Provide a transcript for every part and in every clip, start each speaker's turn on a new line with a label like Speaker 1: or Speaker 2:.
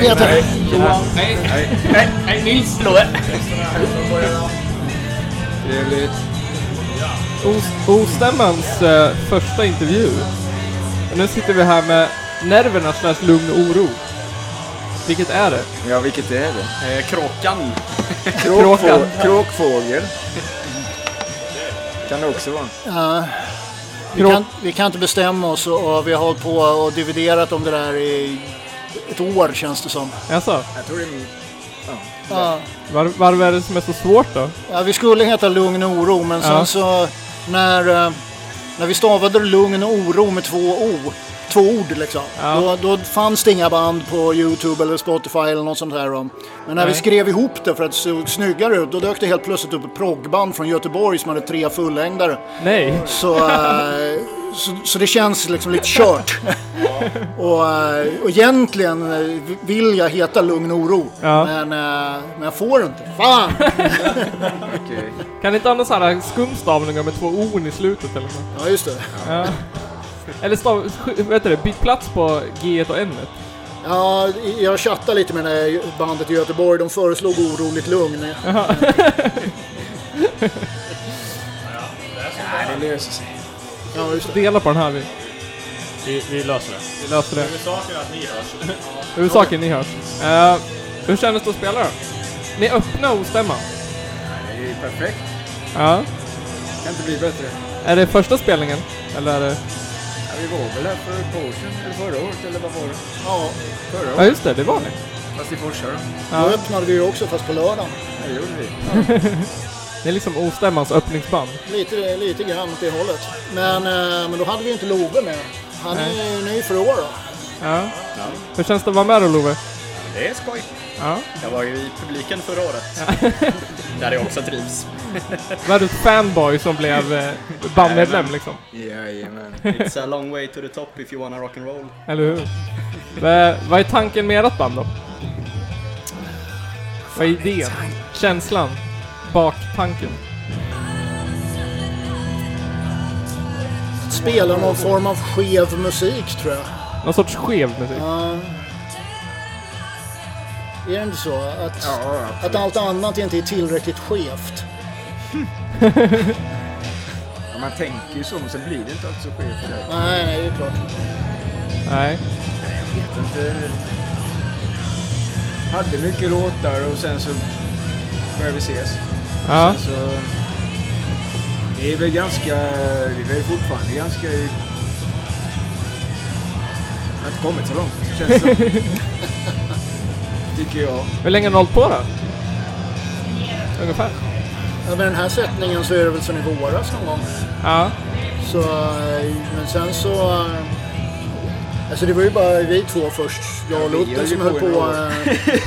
Speaker 1: Peter!
Speaker 2: Johan. Nej, nej, nej, Nils.
Speaker 3: Trevligt.
Speaker 4: Os- Ostämmans eh, första intervju. Och nu sitter vi här med Nerverna slash Lugn och Oro. Vilket är det?
Speaker 3: Ja, vilket är det?
Speaker 2: Eh, Kråkan.
Speaker 4: Kråkan.
Speaker 3: Kråkfå- Kråkfågel. Kan det också vara.
Speaker 1: Ja, vi,
Speaker 4: Krå-
Speaker 1: kan, vi kan inte bestämma oss och, och vi har hållit på och dividerat om det där i ett år känns det som.
Speaker 4: Jaså?
Speaker 3: Jag tror det är...
Speaker 1: Ja.
Speaker 4: Var, varför är det som är så svårt då?
Speaker 1: Ja, vi skulle heta Lugn och oro, men
Speaker 4: Ja.
Speaker 1: sen så när, eh, när vi stavade Lugn och oro med två o, två ord liksom,
Speaker 4: Ja.
Speaker 1: då, då fanns det inga band på Youtube eller Spotify eller något sånt här. om. Men när vi
Speaker 4: Nej.
Speaker 1: skrev ihop det för att det såg snyggare ut, då dök det helt plötsligt upp ett proggband från Göteborg som hade tre fullängdare.
Speaker 4: Nej.
Speaker 1: Så, eh, så, så det känns liksom lite kört. och, eh, och egentligen eh, vill jag heta Lugn och oro,
Speaker 4: Ja.
Speaker 1: men, eh, men jag får inte. Fan!
Speaker 3: Okej.
Speaker 4: Kan ni inte ha någon sån här äh, skumstavningar med två O i slutet eller något?
Speaker 1: Ja, just det.
Speaker 4: Ja. Eller stav... sk- Vad heter det? Byt plats på G och N.
Speaker 1: Ja, jag chattade lite med det här bandet i Göteborg. De föreslog oroligt lugn.
Speaker 3: Nej, det löser sig.
Speaker 1: Ja, just det.
Speaker 4: Dela på den här. Vi,
Speaker 2: Vi, vi löser det.
Speaker 4: vi löser det.
Speaker 2: Huvudsaken är att ni hörs.
Speaker 4: Huvudsaken ni hörs. Eh, hur kändes det att spela då? Ni öppna Ostämman?
Speaker 3: Nej, det är perfekt.
Speaker 4: Ja.
Speaker 3: Kan inte bli bättre.
Speaker 4: Är det första spelningen? Eller är det...
Speaker 3: Ja, vi var väl här för ett par år sedan, eller förra året, eller vad var det?
Speaker 1: Ja,
Speaker 3: Förra
Speaker 4: Ja
Speaker 3: året.
Speaker 4: just det, det var ni.
Speaker 3: Fast i Forsa då.
Speaker 1: då öppnade vi ju också, fast på lördagen.
Speaker 3: Ja, det gjorde vi.
Speaker 4: Det är liksom Ostämmans öppningsband.
Speaker 1: Lite, lite grann åt det hållet. Men, eh, men då hade vi inte Love med. Han är ju ny för i år då.
Speaker 4: Ja. Hur känns det att vara med då Love?
Speaker 2: Det är skoj.
Speaker 4: Ja.
Speaker 2: Jag var ju i publiken förra året. Där jag också trivs.
Speaker 4: Var du ett fanboy som blev eh, bandmedlem liksom?
Speaker 3: Jajamän.
Speaker 2: It's a long way to the top if you wanna rock and roll.
Speaker 4: Eller hur? Va- vad är tanken med ert band då? Vad är idén? Känslan? Baktanken?
Speaker 1: Spelar någon form av skev musik tror jag.
Speaker 4: Någon sorts skev musik?
Speaker 1: Ja. Är det inte så? Att,
Speaker 3: Ja, absolut.
Speaker 1: att allt annat inte är tillräckligt skevt.
Speaker 3: Ja, man tänker ju så, men sen blir det inte alltid så skevt. Jag
Speaker 1: Nej, nej, det är klart.
Speaker 4: Nej.
Speaker 3: vet inte. Hade mycket låtar och sen så började vi ses.
Speaker 4: Ja.
Speaker 3: Sen så... Alltså, Det är väl ganska... Vi är väl fortfarande ganska... Jag har inte kommit så långt, känns det som. Tycker jag.
Speaker 4: Hur länge har ni hållit på då? Ungefär?
Speaker 1: Ja, Med den här sättningen så är det väl sen i våras någon gång.
Speaker 4: Ja.
Speaker 1: Så, eh, men sen så... eh, Alltså det var ju bara vi två först, jag och
Speaker 3: Ja, vi gör
Speaker 1: Lotten,
Speaker 3: ju
Speaker 1: som
Speaker 3: på
Speaker 1: höll på,
Speaker 3: i några
Speaker 1: eh,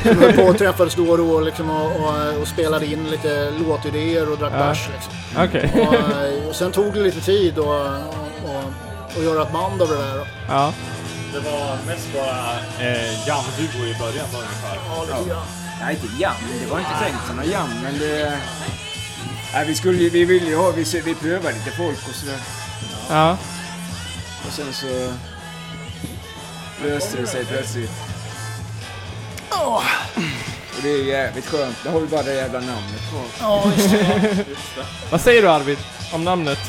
Speaker 1: som höll på och träffades då och då liksom och, och, och spelade in lite låtidéer och drack
Speaker 4: Ja.
Speaker 1: bärs. Liksom.
Speaker 4: Okej.
Speaker 1: Och, eh, och sen tog det lite tid att och, och, och göra ett band av det där.
Speaker 4: Ja.
Speaker 5: Det var mest bara eh, jamduo i början var det ungefär.
Speaker 1: Ja, lite grann.
Speaker 3: Nej, inte jam. Det var inte tänkt som någon jam, men det... Nej, vi skulle ju- vi ville ju ha, vi, se- vi prövade lite folk och sådär.
Speaker 4: Ja.
Speaker 3: Och sen så löste det sig plötsligt. Och det är jävligt skönt. Då har vi bara det jävla namnet kvar.
Speaker 1: Ja, visst.
Speaker 4: Vad säger du Arvid? Om namnet?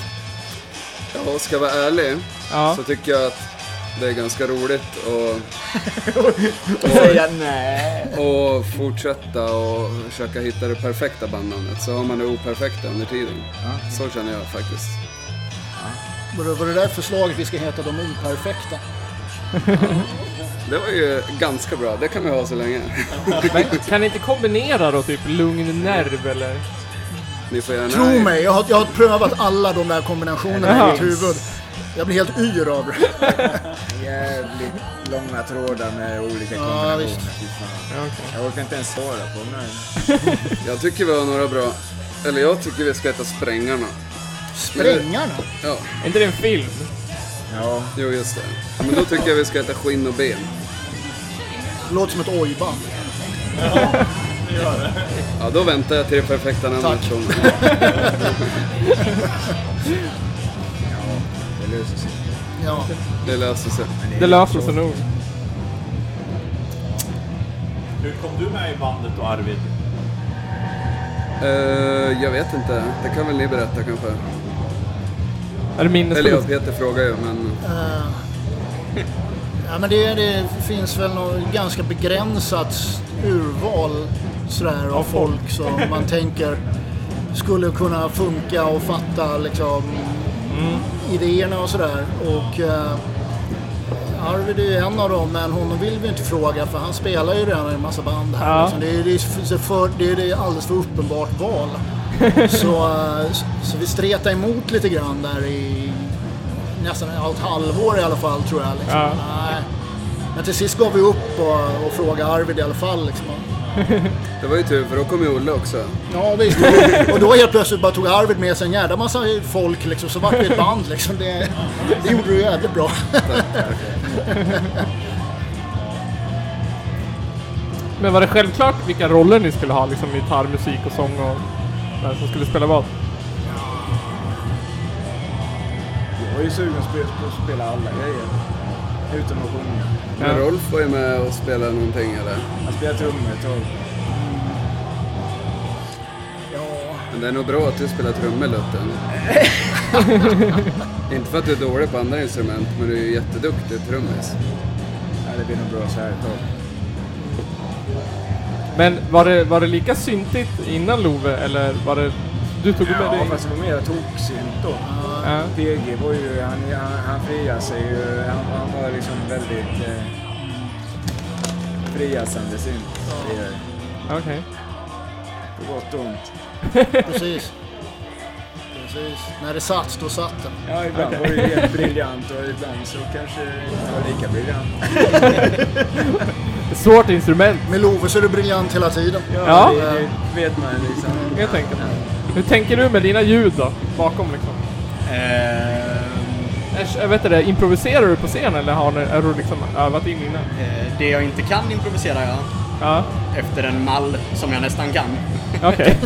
Speaker 6: Ja, ska jag vara ärlig
Speaker 4: Ja.
Speaker 6: så tycker jag att det är ganska roligt att
Speaker 3: Säga nej.
Speaker 6: och fortsätta och försöka hitta det perfekta bandnamnet. Så har man det operfekta under tiden. Så känner jag faktiskt.
Speaker 1: Var det- var det där förslaget vi ska heta De Operfekta?
Speaker 6: Det var ju ganska bra, det kan vi ha så länge.
Speaker 4: Men kan ni inte kombinera då typ lugn nerv eller?
Speaker 6: Ni får gärna...
Speaker 1: Tro mig, jag har, jag har prövat alla de där kombinationerna i mitt huvud. Jag blir helt yr av det.
Speaker 3: Jävligt långa trådar med olika
Speaker 1: Ja,
Speaker 3: kombinationer.
Speaker 1: visst.
Speaker 3: Fy fan. Jag orkar inte ens svara på dem. nej.
Speaker 6: Jag tycker vi har några bra... Eller jag tycker vi ska heta Sprängarna.
Speaker 1: Sprängarna?
Speaker 6: Ja,
Speaker 4: Är inte det en film?
Speaker 3: Ja,
Speaker 6: jo just det. Men då tycker jag vi ska heta Skinn och Ben.
Speaker 1: Låter som ett ojband.
Speaker 6: Ja, då väntar jag till det perfekta namnet.
Speaker 1: Tack.
Speaker 6: Som,
Speaker 3: Det löser sig.
Speaker 1: Ja.
Speaker 6: det löser sig.
Speaker 4: Det löser sig nog.
Speaker 5: Hur kom du med i bandet och Arvid?
Speaker 6: Eh, jag vet inte. Det kan väl ni berätta kanske.
Speaker 4: Är det
Speaker 6: Eller
Speaker 4: minnesförlust?
Speaker 6: jag, Peter frågar ju, men
Speaker 1: Ja, men det, det finns väl något ganska begränsat urval sådär, av folk som man tänker skulle kunna funka och fatta liksom, idéerna och sådär. Och, eh, Arvid är ju en av dem, men honom vill vi inte fråga för han spelar ju redan i en massa band här.
Speaker 4: Ja.
Speaker 1: Liksom. Det, är- det, är så för, det, är- det är alldeles för uppenbart val. så, eh, så, så vi stretar emot lite grann där i nästan ett halvår i alla fall tror jag. Liksom.
Speaker 4: Ja.
Speaker 1: Nej. Men till sist gav vi upp och, och frågade Arvid i alla fall. Liksom.
Speaker 6: det var ju tur för då kom ju Olle också.
Speaker 1: Ja visst. och då helt plötsligt bara tog Arvid med sig en jävla massa folk liksom, så vart vi ett band liksom. Det, det gjorde du jävligt bra.
Speaker 4: Men var det självklart vilka roller ni skulle ha? Liksom gitarr, musik och sång och vem som skulle spela vad?
Speaker 3: Jag är ju sugen på att spe- på att spela alla grejer. Utom att sjunga.
Speaker 6: Men Rolf var ju med och spelade någonting eller?
Speaker 3: Jag spelar trummor ett tag.
Speaker 6: Men det är nog bra att du spelar trummor Lutten. Inte för att du är dålig på andra instrument, men du är ju jätteduktig trummis.
Speaker 3: Ja, det blir nog bra så här ett tag.
Speaker 4: Men var det, var det lika syntigt innan Love eller var det... Du tog med
Speaker 3: Ja,
Speaker 4: dig...
Speaker 3: fast det var mera toksynt då.
Speaker 4: Ja.
Speaker 3: PG var ju, han, han, han friade sig ju. Han, han var liksom väldigt eh, friasande synt. friare.
Speaker 4: Okej.
Speaker 3: På gott och ont.
Speaker 1: Precis. Precis. När det satt, då satt den.
Speaker 3: Ja, ibland var det helt briljant och ibland så kanske det inte var lika briljant.
Speaker 4: Svårt instrument.
Speaker 1: Med Love så är du briljant hela tiden.
Speaker 4: Ja.
Speaker 3: Det, det vet man ju liksom.
Speaker 4: Jag tänker på. Hur tänker du med dina ljud då? Bakom liksom?
Speaker 2: Eh,
Speaker 4: Äsch, Jag vet inte, improviserar du på scen eller har ni, är du liksom övat in innan?
Speaker 2: Eh, Det jag inte kan improviserar jag
Speaker 4: Ja,
Speaker 2: efter en mall som jag nästan kan.
Speaker 4: okej.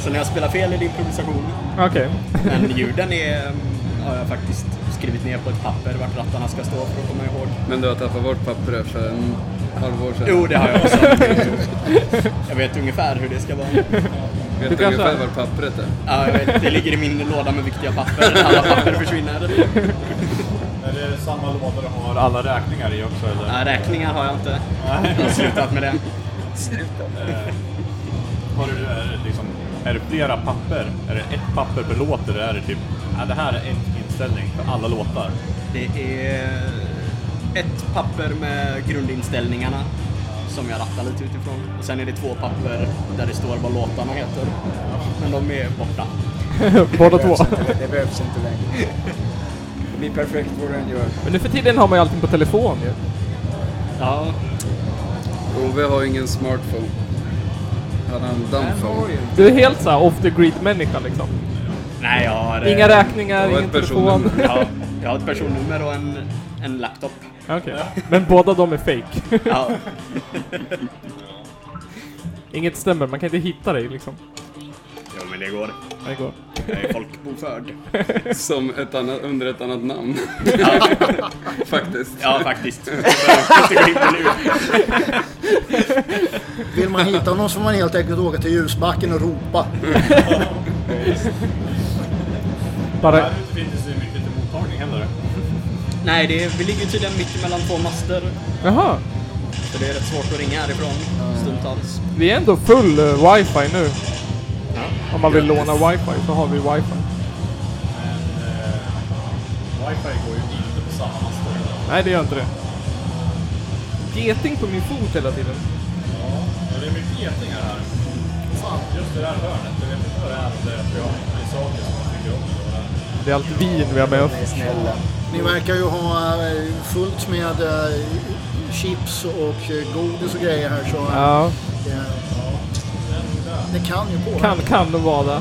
Speaker 2: Så när jag spelar fel är det improvisation.
Speaker 4: Okej.
Speaker 2: Men ljuden är, mm, har jag faktiskt skrivit ner på ett papper vart rattarna ska stå för att komma ihåg.
Speaker 6: Men du har tappat bort pappret för en halvår sedan.
Speaker 2: Jo, det har jag också. Jag vet ungefär hur det ska vara.
Speaker 6: Vet
Speaker 4: Du
Speaker 6: du
Speaker 4: kanske-
Speaker 6: ungefär var pappret är?
Speaker 2: Ja, jag vet, det ligger i min låda med viktiga papper. Alla papper försvinner.
Speaker 5: Är det samma låda du har alla räkningar i också eller?
Speaker 2: Nej, räkningar har jag inte. Jag har slutat med det.
Speaker 5: Har du, är, det liksom, är det flera papper? Är det ett papper per låt eller är det typ, ja, det här är en inställning för alla låtar?
Speaker 2: Det är ett papper med grundinställningarna som jag rattar lite utifrån. Och sen är det två papper där det står vad låtarna heter. Men de är borta.
Speaker 4: Båda
Speaker 3: Det behövs
Speaker 4: två.
Speaker 3: inte, det behövs inte längre. Det blir perfekt vad du än gör.
Speaker 4: Men nu för tiden har man ju allting på telefon ju.
Speaker 2: Ja,
Speaker 6: Ove har ju ingen smartphone. Han har en dumbphone.
Speaker 4: Du är helt såhär off the grid människa liksom.
Speaker 2: nej jag har... eh,
Speaker 4: Inga räkningar,
Speaker 6: det var
Speaker 4: ingen
Speaker 6: ett
Speaker 4: telefon.
Speaker 6: personnummer.
Speaker 2: Ja, jag har ett personnummer och en, en laptop.
Speaker 4: Okej. Men båda de är fake.
Speaker 2: Ja,
Speaker 4: Inget stämmer, man kan inte hitta dig liksom.
Speaker 2: jo, men det går.
Speaker 4: Det går.
Speaker 2: Jag är folkbokförd.
Speaker 6: Som ett annat, under ett annat namn.
Speaker 2: Ja,
Speaker 6: Faktiskt.
Speaker 2: ja faktiskt. Så jag måste gå in på nu.
Speaker 1: Vill man hitta någon så får man helt enkelt åka till ljusbacken och ropa.
Speaker 4: Bara...
Speaker 5: Här ute finns det så mycket till mottagning heller.
Speaker 2: Nej, det är, vi ligger ju tydligen mitt emellan två master.
Speaker 4: Jaha.
Speaker 2: Så det är rätt svårt att ringa härifrån stundtals.
Speaker 4: Vi är ändå full eh, wifi nu.
Speaker 2: Ja.
Speaker 4: Om man vill låna wifi så har vi wifi.
Speaker 5: eh, Wifi går ju inte på samma master.
Speaker 4: Nej, det gör inte det. Geting på min fot hela tiden.
Speaker 5: Men det är mycket getingar här. Just det där hörnet, jag vet inte vad det är om det är att vi har mycket saker som man tycker om. eller vad det är.
Speaker 4: Det är allt vin vi har med oss.
Speaker 1: Ni verkar ju ha eh, fullt med eh, chips och eh, godis och grejer här så eh,
Speaker 4: Ja,
Speaker 1: det, det kan ju påverka.
Speaker 4: kan, kan de vara.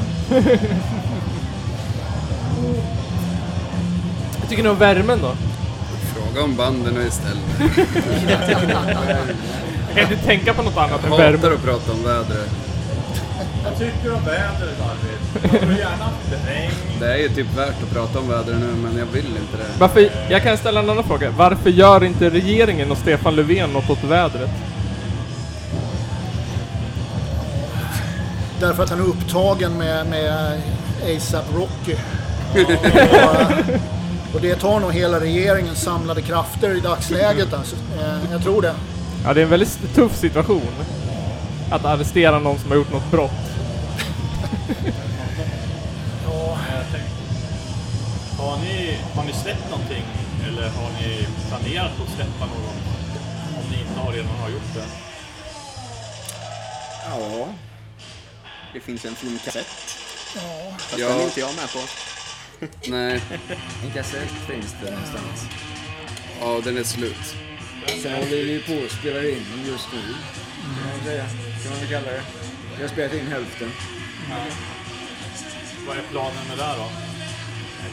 Speaker 4: Jag tycker ni om värmen då?
Speaker 6: Fråga om banden och istället.
Speaker 4: Jag kan inte tänka på något annat än
Speaker 6: Hatar
Speaker 4: värme.
Speaker 6: att prata om vädret.
Speaker 5: Vad tycker du om vädret Arvid? Hade du gärna haft lite regn?
Speaker 6: Det är ju typ värt att prata om vädret nu, men jag vill inte det.
Speaker 4: Varför, jag kan ställa en annan fråga. Varför gör inte regeringen och Stefan Löfven något åt vädret?
Speaker 1: Därför att han är upptagen med, med ASAP Rocky. Och, och det tar nog hela regeringens samlade krafter i dagsläget. Alltså. Eh, Jag tror det.
Speaker 4: Ja, det är en väldigt tuff situation. Att arrestera någon som har gjort något brott.
Speaker 5: Jag tänkte, har, ni, har ni släppt någonting? Eller har ni planerat att släppa någon? Om ni inte har redan har gjort det.
Speaker 3: Ja.
Speaker 2: Det finns en filmkassett. Fast
Speaker 6: Ja.
Speaker 2: den är inte jag med på.
Speaker 6: Nej,
Speaker 3: En kassett finns det någonstans.
Speaker 6: ja den är slut.
Speaker 3: Sen håller vi ju på och spelar in den just nu. Kan man säga. Kan man väl kalla det. Vi har spelat in hälften.
Speaker 5: Vad är planen med det här då?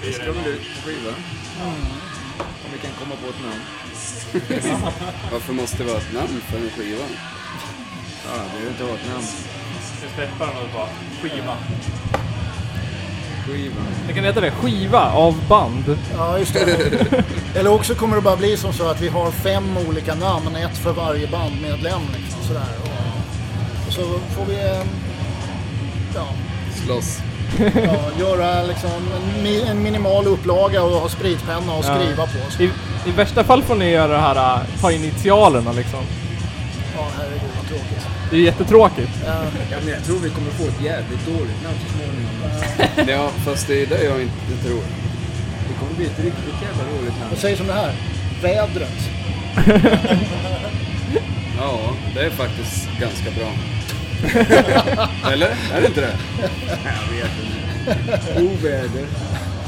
Speaker 3: Vi ska väl ut på skiva. Om vi kan komma på ett namn.
Speaker 6: Varför måste det vara ett namn för en skiva?
Speaker 3: Ja, vi behöver inte ha ett namn.
Speaker 5: Ska släppa den och bara skiva?
Speaker 3: Skiva.
Speaker 4: Det kan heta det, skiva av band.
Speaker 1: Ja, just det. Eller också kommer det bara bli som så att vi har fem olika namn, ett för varje bandmedlem. Liksom, sådär. Och, och så får vi eh, ja,
Speaker 6: Slåss.
Speaker 1: ja, göra liksom, en, mi- en minimal upplaga och ha spritpenna och
Speaker 4: Ja.
Speaker 1: skriva på. Så,
Speaker 4: I, I värsta fall får ni göra det här, äh, ta initialerna liksom.
Speaker 1: ja, herregud vad tråkigt.
Speaker 4: Det är jättetråkigt.
Speaker 3: Ja, men jag tror vi kommer få ett jävligt dåligt namn så småningom.
Speaker 6: Ja, fast det är det jag inte tror.
Speaker 3: Det kommer bli ett riktigt jävla dåligt namn.
Speaker 1: Jag säger som det här, vädret.
Speaker 6: Ja, det är faktiskt ganska bra. Eller? Är det inte det?
Speaker 3: Oväder.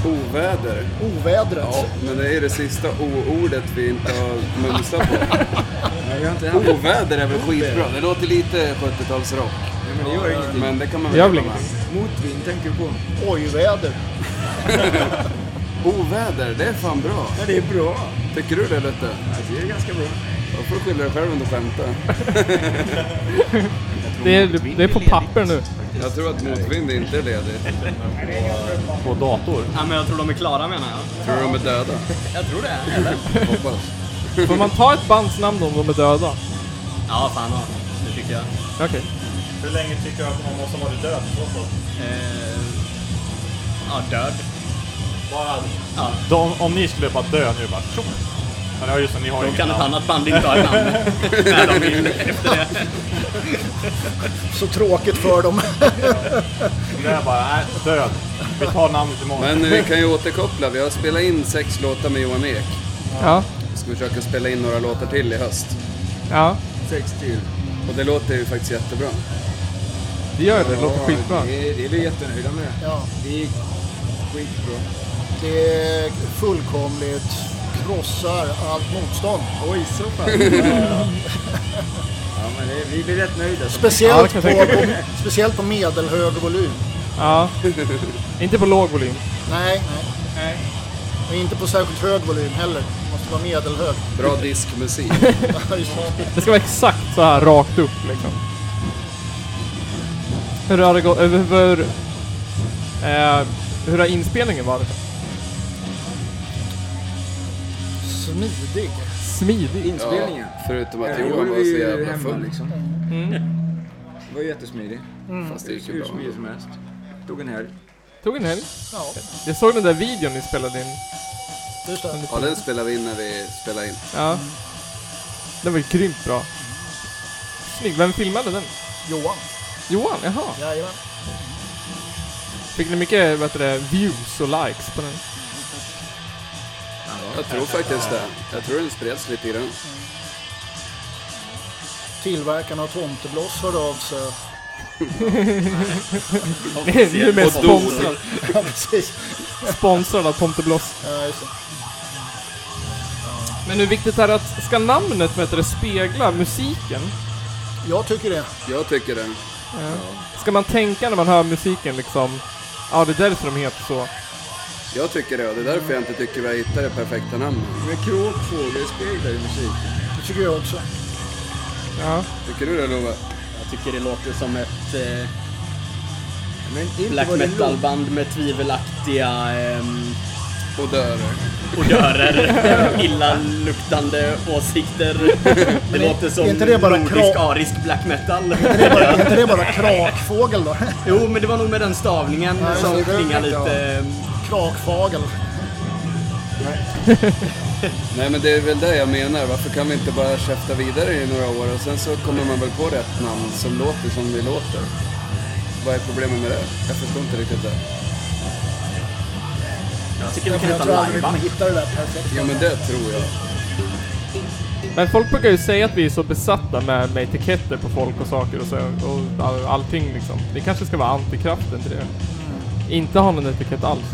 Speaker 6: Oväder.
Speaker 1: Ovädret.
Speaker 6: Ja, men det är det sista o-ordet vi inte har mumsat på.
Speaker 3: Nej, vi har inte haft...
Speaker 6: Oväder är väl skitbra. Det låter lite 70-talsrock.
Speaker 3: Nej, men det gör ingenting.
Speaker 6: Men det kan man
Speaker 4: Det gör
Speaker 6: väl
Speaker 4: väl
Speaker 6: leva med.
Speaker 3: Motvind tänker vi på.
Speaker 1: Ojväder.
Speaker 6: Oväder, det är fan bra.
Speaker 3: Ja, det är bra.
Speaker 6: Tycker du det Lutte?
Speaker 3: Ja, det är ganska bra.
Speaker 6: Då får du skylla dig själv om du skämtar.
Speaker 4: Det är, det är på papper nu.
Speaker 6: Jag tror att motvind inte är ledigt.
Speaker 4: På dator.
Speaker 2: Ja, men jag tror de är klara menar jag.
Speaker 6: Tror du de är döda?
Speaker 2: Jag tror det. Eller?
Speaker 6: Hoppas.
Speaker 4: Får man ta ett bands namn om de är döda?
Speaker 2: Ja, fan ja. Det tycker jag.
Speaker 4: Okej.
Speaker 5: Hur länge tycker du att man måste vara död i så fall?
Speaker 2: Eh, ja, död.
Speaker 5: Bara...
Speaker 2: Ja.
Speaker 5: De, om ni skulle bara dö nu bara... tjoff. Men ja, just det, ni har ju
Speaker 2: Då
Speaker 5: inget
Speaker 2: kan ett
Speaker 5: namn.
Speaker 2: annat band inte ha ett namn när de vill efter det.
Speaker 1: Så tråkigt för dem.
Speaker 5: Det är bara, nej, död. Vi tar namnet imorgon.
Speaker 6: Men vi kan ju återkoppla. Vi har spelat in sex låtar med Johan Ek.
Speaker 4: Ja.
Speaker 6: Vi ska försöka spela in några låtar till i höst.
Speaker 4: Ja.
Speaker 3: Sex till.
Speaker 6: Och det låter ju faktiskt jättebra.
Speaker 4: Det gör det. Det låter
Speaker 3: Ja,
Speaker 4: skitbra.
Speaker 3: Det, det är vi jättenöjda med.
Speaker 1: Ja,
Speaker 3: Det gick skitbra.
Speaker 1: det är fullkomligt krossar allt motstånd.
Speaker 3: Oj, så pass. ja, men det, vi blir rätt nöjda.
Speaker 4: Ja,
Speaker 1: Speciellt,
Speaker 4: det kan
Speaker 1: på,
Speaker 4: jag tänka
Speaker 1: på, speciellt på medelhög volym.
Speaker 4: Ja. Inte på låg volym.
Speaker 1: Nej, nej. Och inte på särskilt hög volym heller. Det måste vara medelhög.
Speaker 6: Bra diskmusik.
Speaker 1: Just det.
Speaker 4: Det ska vara exakt så här rakt upp liksom. Hur har det gått? Hur, hur, eh, hur har inspelningen varit?
Speaker 1: Smidig.
Speaker 4: Smidig.
Speaker 3: Inspelningen.
Speaker 6: Förutom att
Speaker 3: det
Speaker 6: Johan
Speaker 3: gjorde
Speaker 6: var så
Speaker 3: vi
Speaker 6: jävla
Speaker 3: hemma
Speaker 6: full.
Speaker 3: liksom.
Speaker 4: Mm.
Speaker 3: Det var jättesmidigt.
Speaker 6: Fast det gick ju
Speaker 3: Hur
Speaker 6: bra.
Speaker 3: smidigt som helst. Tog en helg.
Speaker 4: Tog en helg.
Speaker 1: Ja,
Speaker 4: Jag såg den där videon ni spelade in.
Speaker 1: just det.
Speaker 6: Ja, den spelar vi in när vi spelar in.
Speaker 4: Ja. Den var ju grymt bra. Snygg. Vem filmade den?
Speaker 1: Johan.
Speaker 4: Johan? Jaha.
Speaker 1: Jajamän.
Speaker 4: Fick ni mycket vad heter det, views och likes på den?
Speaker 6: Jag tror faktiskt det. Jag tror den spreds lite grann.
Speaker 1: Tillverkarna av tomtebloss hörde av sig.
Speaker 4: Det är ju mer sponsrad,
Speaker 1: Ja, precis.
Speaker 4: sponsrad av Tomtebloss.
Speaker 1: Ja, just det.
Speaker 4: Men hur viktigt är det att, ska namnet vad heter det, spegla musiken?
Speaker 1: Jag tycker det.
Speaker 6: Jag tycker det.
Speaker 4: Ska man tänka när man hör musiken liksom, ja det är därför de heter så.
Speaker 6: Jag tycker det och det är därför jag inte tycker vi har hittat det perfekta namnet.
Speaker 3: Men kråkfågel speglar ju musiken.
Speaker 1: Det tycker jag också.
Speaker 4: Ja.
Speaker 6: Tycker du det Love?
Speaker 2: Jag tycker det låter som ett eh,
Speaker 3: Men inte
Speaker 2: black
Speaker 3: vad det låter.
Speaker 2: metal-band med tvivelaktiga ehm,
Speaker 6: Odörer.
Speaker 2: odörer, illaluktande åsikter. Det låter som
Speaker 1: är inte det bara
Speaker 2: nordisk
Speaker 1: krav?
Speaker 2: arisk black metal.
Speaker 1: Är inte det bara, är inte det bara krakfågel då?
Speaker 2: Jo, men det var nog med den stavningen
Speaker 1: Ja,
Speaker 2: som
Speaker 1: det
Speaker 2: klingar
Speaker 1: vet jag.
Speaker 2: lite... ehm,
Speaker 1: Krakfagel.
Speaker 6: Nej men det är väl det jag menar. Varför kan vi inte bara käfta vidare i några år och sen så kommer man väl på rätt namn som låter som vi låter. Vad är problemet med det? Jag förstår inte riktigt det.
Speaker 2: Jag tycker vi
Speaker 1: Jag
Speaker 2: kan
Speaker 1: tror
Speaker 2: heta
Speaker 1: aldrig vi
Speaker 2: liveband.
Speaker 1: kommer hitta det där perfekt.
Speaker 6: Ja men det tror jag.
Speaker 4: Men folk brukar ju säga att vi är så besatta med, med etiketter på folk och saker och, så, och all, allting liksom. Det kanske ska vara antikraften till det.
Speaker 1: Mm.
Speaker 4: Inte ha någon etikett alls.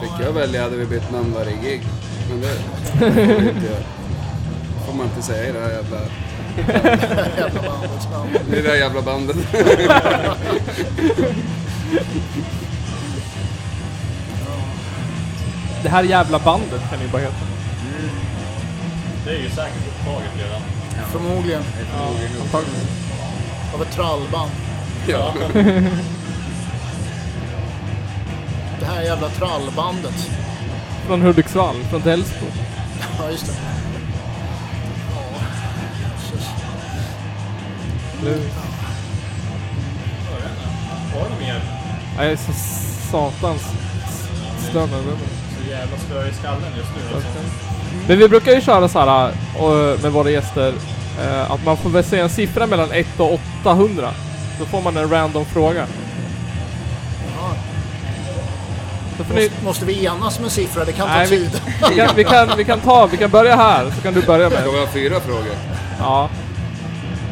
Speaker 6: Fick jag välja hade vi bytt namn varje gig. Men det det får vi inte göra. Det får man inte säga i det här jävla,
Speaker 1: Jävla bandets namn.
Speaker 6: i det här jävla bandet.
Speaker 4: Det här jävla bandet kan ni bara heta.
Speaker 5: Det är ju säkert upptaget redan.
Speaker 1: Förmodligen.
Speaker 4: Antagligen.
Speaker 1: Av ett trallband.
Speaker 6: Ja.
Speaker 1: Det här jävla trallbandet.
Speaker 4: Från Hudiksvall, från Delsbo.
Speaker 1: Ja, just det. Ja, Jesus.
Speaker 5: Har de mer
Speaker 4: Nej, Jag är så satans störd över det.
Speaker 5: så jävla spö i skallen just nu? Alltså.
Speaker 4: Men vi brukar ju köra så här eh, med våra gäster eh, att man får väl säga en siffra mellan 1 och 800. Då får man en random fråga. Då får ni,
Speaker 1: Måste, måste vi enas med en siffra? Det kan ta
Speaker 4: Nej, vi-
Speaker 1: tid.
Speaker 4: vi, kan, vi, kan, vi kan ta, vi kan börja här så kan du börja med.
Speaker 6: Ska vi ha fyra frågor?
Speaker 4: Ja.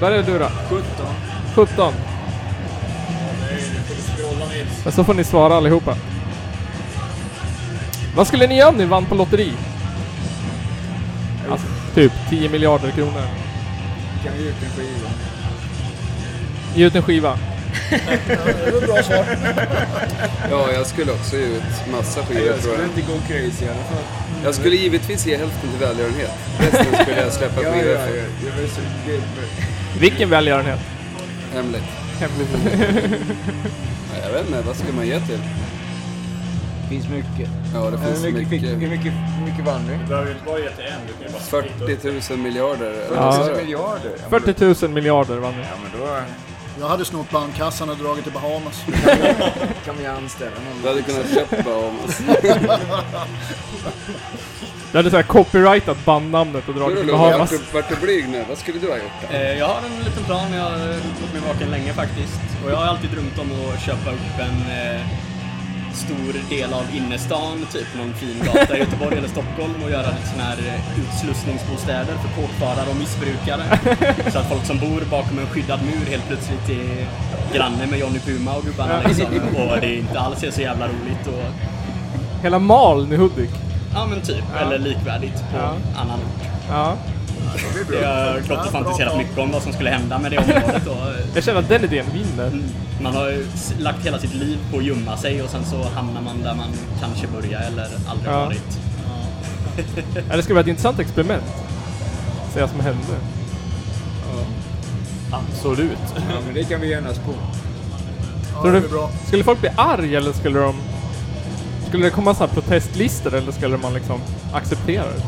Speaker 4: Börja du då. 17. 17.
Speaker 5: Scrolla Nils.
Speaker 4: Men så får ni svara allihopa. Vad skulle ni göra om ni vann på lotteri? Alltså, typ 10 miljarder kronor.
Speaker 3: Kan vi ge ut en skiva?
Speaker 4: Ge ut en skiva.
Speaker 6: Ja, jag skulle också ge ut massa skivor
Speaker 3: Jag
Speaker 6: tror
Speaker 3: skulle
Speaker 6: jag.
Speaker 3: inte gå crazy i alla fall.
Speaker 6: Jag skulle givetvis ge hälften till välgörenhet. Resten skulle jag släppa
Speaker 3: Ja, ja,
Speaker 6: skivor
Speaker 3: ja.
Speaker 6: för.
Speaker 3: Det var så grymt.
Speaker 4: Vilken välgörenhet?
Speaker 6: Hemligt.
Speaker 4: Hemligt.
Speaker 6: Nej, jag vet inte, vad skulle man ge till?
Speaker 3: finns mycket.
Speaker 6: Ja, det finns
Speaker 3: Hur
Speaker 6: så
Speaker 3: mycket, fick, hur
Speaker 6: mycket.
Speaker 3: mycket, hur mycket vann vi?
Speaker 5: Du behöver ju inte E bara ge till en, du kan ju bara splitta upp.
Speaker 6: 40 000 miljarder. eller
Speaker 4: Ja.
Speaker 6: vad sa
Speaker 3: 40
Speaker 6: du?
Speaker 3: miljarder? Ja, men då-
Speaker 4: 40 000 miljarder vann ni.
Speaker 3: Ja, men då
Speaker 1: Jag hade snott bandkassan och dragit till Bahamas.
Speaker 3: kan vi anställa
Speaker 6: Du
Speaker 3: någon.
Speaker 6: hade kunnat köpa Bahamas.
Speaker 4: Du hade såhär copyrightat bandnamnet och dragit till Bahamas.
Speaker 6: Vart du blyg nu? Vad skulle du ha gjort då?
Speaker 2: Eh, Jag har en liten plan, jag har gått mig vaken länge faktiskt. Och jag har alltid drömt om att köpa upp en eh, stor del av innerstan, typ någon fin gata i Göteborg eller Stockholm och göra lite sån här eh, utslussningsbostäder för kåkfarare och missbrukare. Så att folk som bor bakom en skyddad mur helt plötsligt är granne med Johnny Puma och gubbarna liksom. Och det inte alls är så jävla roligt. Och,
Speaker 4: Hela Maln i Hudik.
Speaker 2: ja men typ, eller likvärdigt på
Speaker 4: Ja.
Speaker 2: annan ort.
Speaker 4: Ja.
Speaker 2: Jag har klart och fantiserat mycket om vad som skulle hända med det området. Och, eh,
Speaker 4: Jag känner att den idén vinner.
Speaker 2: Man har ju s- lagt hela sitt liv på att gömma sig och sen så hamnar man där man kanske börjar eller aldrig
Speaker 4: Ja.
Speaker 2: varit.
Speaker 4: Ja, det skulle vara ett intressant experiment. Se vad som hände.
Speaker 5: Absolut.
Speaker 3: Ja, men det kan vi enas på.
Speaker 1: Ja,
Speaker 4: Tror
Speaker 1: det
Speaker 4: du,
Speaker 1: blir bra.
Speaker 4: skulle folk bli arg eller skulle de... Skulle det komma så här protestlistor eller skulle man liksom acceptera det?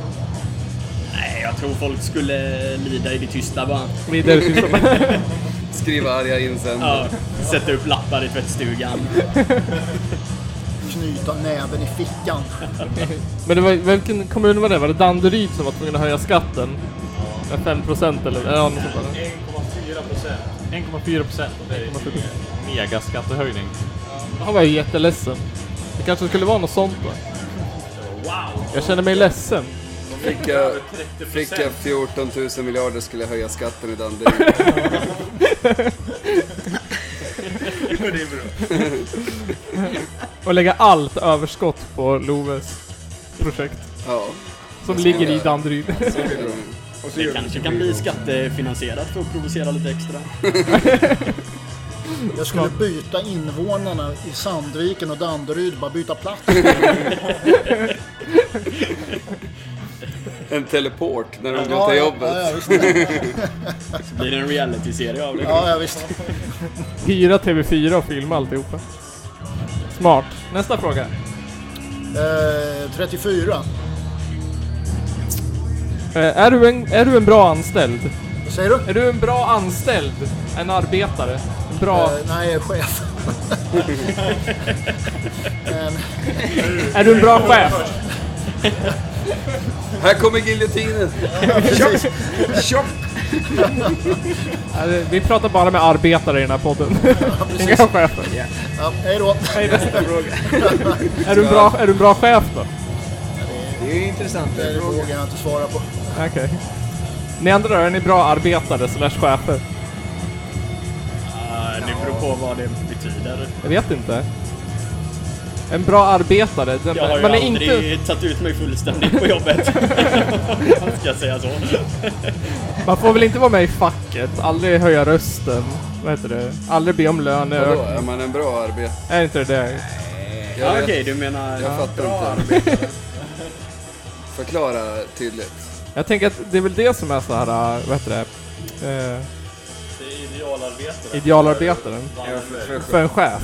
Speaker 2: Nej, jag tror folk skulle lida i det tysta bara.
Speaker 4: Vidare till
Speaker 6: Skriva arga insändare.
Speaker 2: Ja, sätta upp lappar i tvättstugan.
Speaker 1: Knyta näven i fickan.
Speaker 4: Men det var, vilken kommun var det? Var det Danderyd som var tvungen att höja skatten? Med 5% eller? Ja, något sånt där.
Speaker 5: 1,4 procent. 1,4 procent. Det är ju en megaskattehöjning.
Speaker 4: Han var ju jätteledsen. Det kanske skulle vara något sånt då.
Speaker 5: Wow!
Speaker 4: Jag känner mig ledsen.
Speaker 6: Fick jag,
Speaker 5: 30
Speaker 6: fick jag
Speaker 5: procent.
Speaker 6: 14 000 miljarder skulle jag höja skatten i Danderyd.
Speaker 4: Och lägga allt överskott på Loves projekt.
Speaker 6: Ja.
Speaker 4: Som ligger i Danderyd.
Speaker 3: Och så
Speaker 2: Det
Speaker 3: gör vi
Speaker 2: kanske kan bli skattefinansierat för att provocera lite extra.
Speaker 1: Jag skulle byta invånarna i Sandviken och Danderyd, bara byta plats.
Speaker 6: En teleport när de går
Speaker 1: Ja,
Speaker 6: till
Speaker 1: ja,
Speaker 6: jobbet.
Speaker 1: Ja, ja, visst.
Speaker 2: Så blir det en reality-serie av det.
Speaker 1: Ja, ja, visst.
Speaker 4: Hyra TV4 och filma alltihopa. Smart. Nästa fråga.
Speaker 1: Eh, 34.
Speaker 4: Eh, är, du en, är du en bra anställd?
Speaker 1: Vad säger du?
Speaker 4: Är du en bra anställd? En arbetare? En bra...
Speaker 1: Eh, nej, jag är chef.
Speaker 4: Eh, Är du en bra chef?
Speaker 6: Här kommer giljotinen!
Speaker 4: Eh, Vi pratar bara med arbetare i den här podden. Inga chefer.
Speaker 1: Ja, hej då.
Speaker 4: Är du en bra, är du en bra chef då?
Speaker 3: Det är ju intressant.
Speaker 1: Det är en fråga jag inte svarar på.
Speaker 4: Okej. Ni andra då, är ni bra arbetare slash chefer?
Speaker 2: Ah, det beror på vad det betyder.
Speaker 4: Jag vet inte. En bra arbetare, den,
Speaker 2: Jag har ju
Speaker 4: man är
Speaker 2: aldrig
Speaker 4: inte...
Speaker 2: tagit ut mig fullständigt på jobbet. Ska jag säga så?
Speaker 4: Man får väl inte vara med i facket, aldrig höja rösten. Vad heter det? Aldrig be om
Speaker 6: Vadå,
Speaker 4: löneökning.
Speaker 6: är man en bra arbetare?
Speaker 4: Är inte det det?
Speaker 6: Jag,
Speaker 2: Ja,
Speaker 6: vet-
Speaker 2: Okej, du menar...
Speaker 6: jag fattar inte. Förklara tydligt.
Speaker 4: Jag tänker att det är väl det som är så här, äh, vad heter det? Eh,
Speaker 5: Det är idealarbete.
Speaker 4: idealarbetaren. För en chef.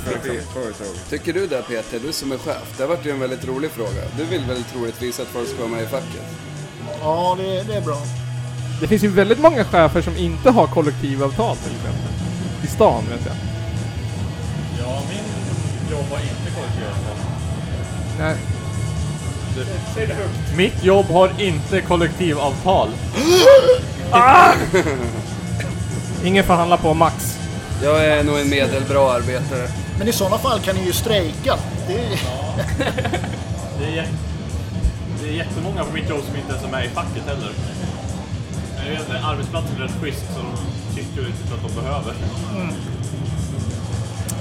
Speaker 6: Tycker du det Peter, du som är chef? Det har varit ju en väldigt rolig fråga. Du vill väl troligtvis att folk ska vara med i facket?
Speaker 1: Ja, det, det är bra.
Speaker 4: Det finns ju väldigt många chefer som inte har kollektivavtal till exempel. I stan vet jag.
Speaker 5: Ja, min jobb har inte kollektivavtal.
Speaker 4: Nej.
Speaker 7: Mitt jobb har inte kollektivavtal.
Speaker 4: Ah! Ingen förhandlar på max.
Speaker 6: Jag är nog en medelbra arbetare.
Speaker 1: Men i sådana fall kan ni ju strejka. Det är...
Speaker 5: Det är, jä- det är jättemånga på mitt jobb som inte ens är med i facket heller. Men jag vet inte, arbetsplatsen är rätt schysst så de tycker väl inte att de behöver.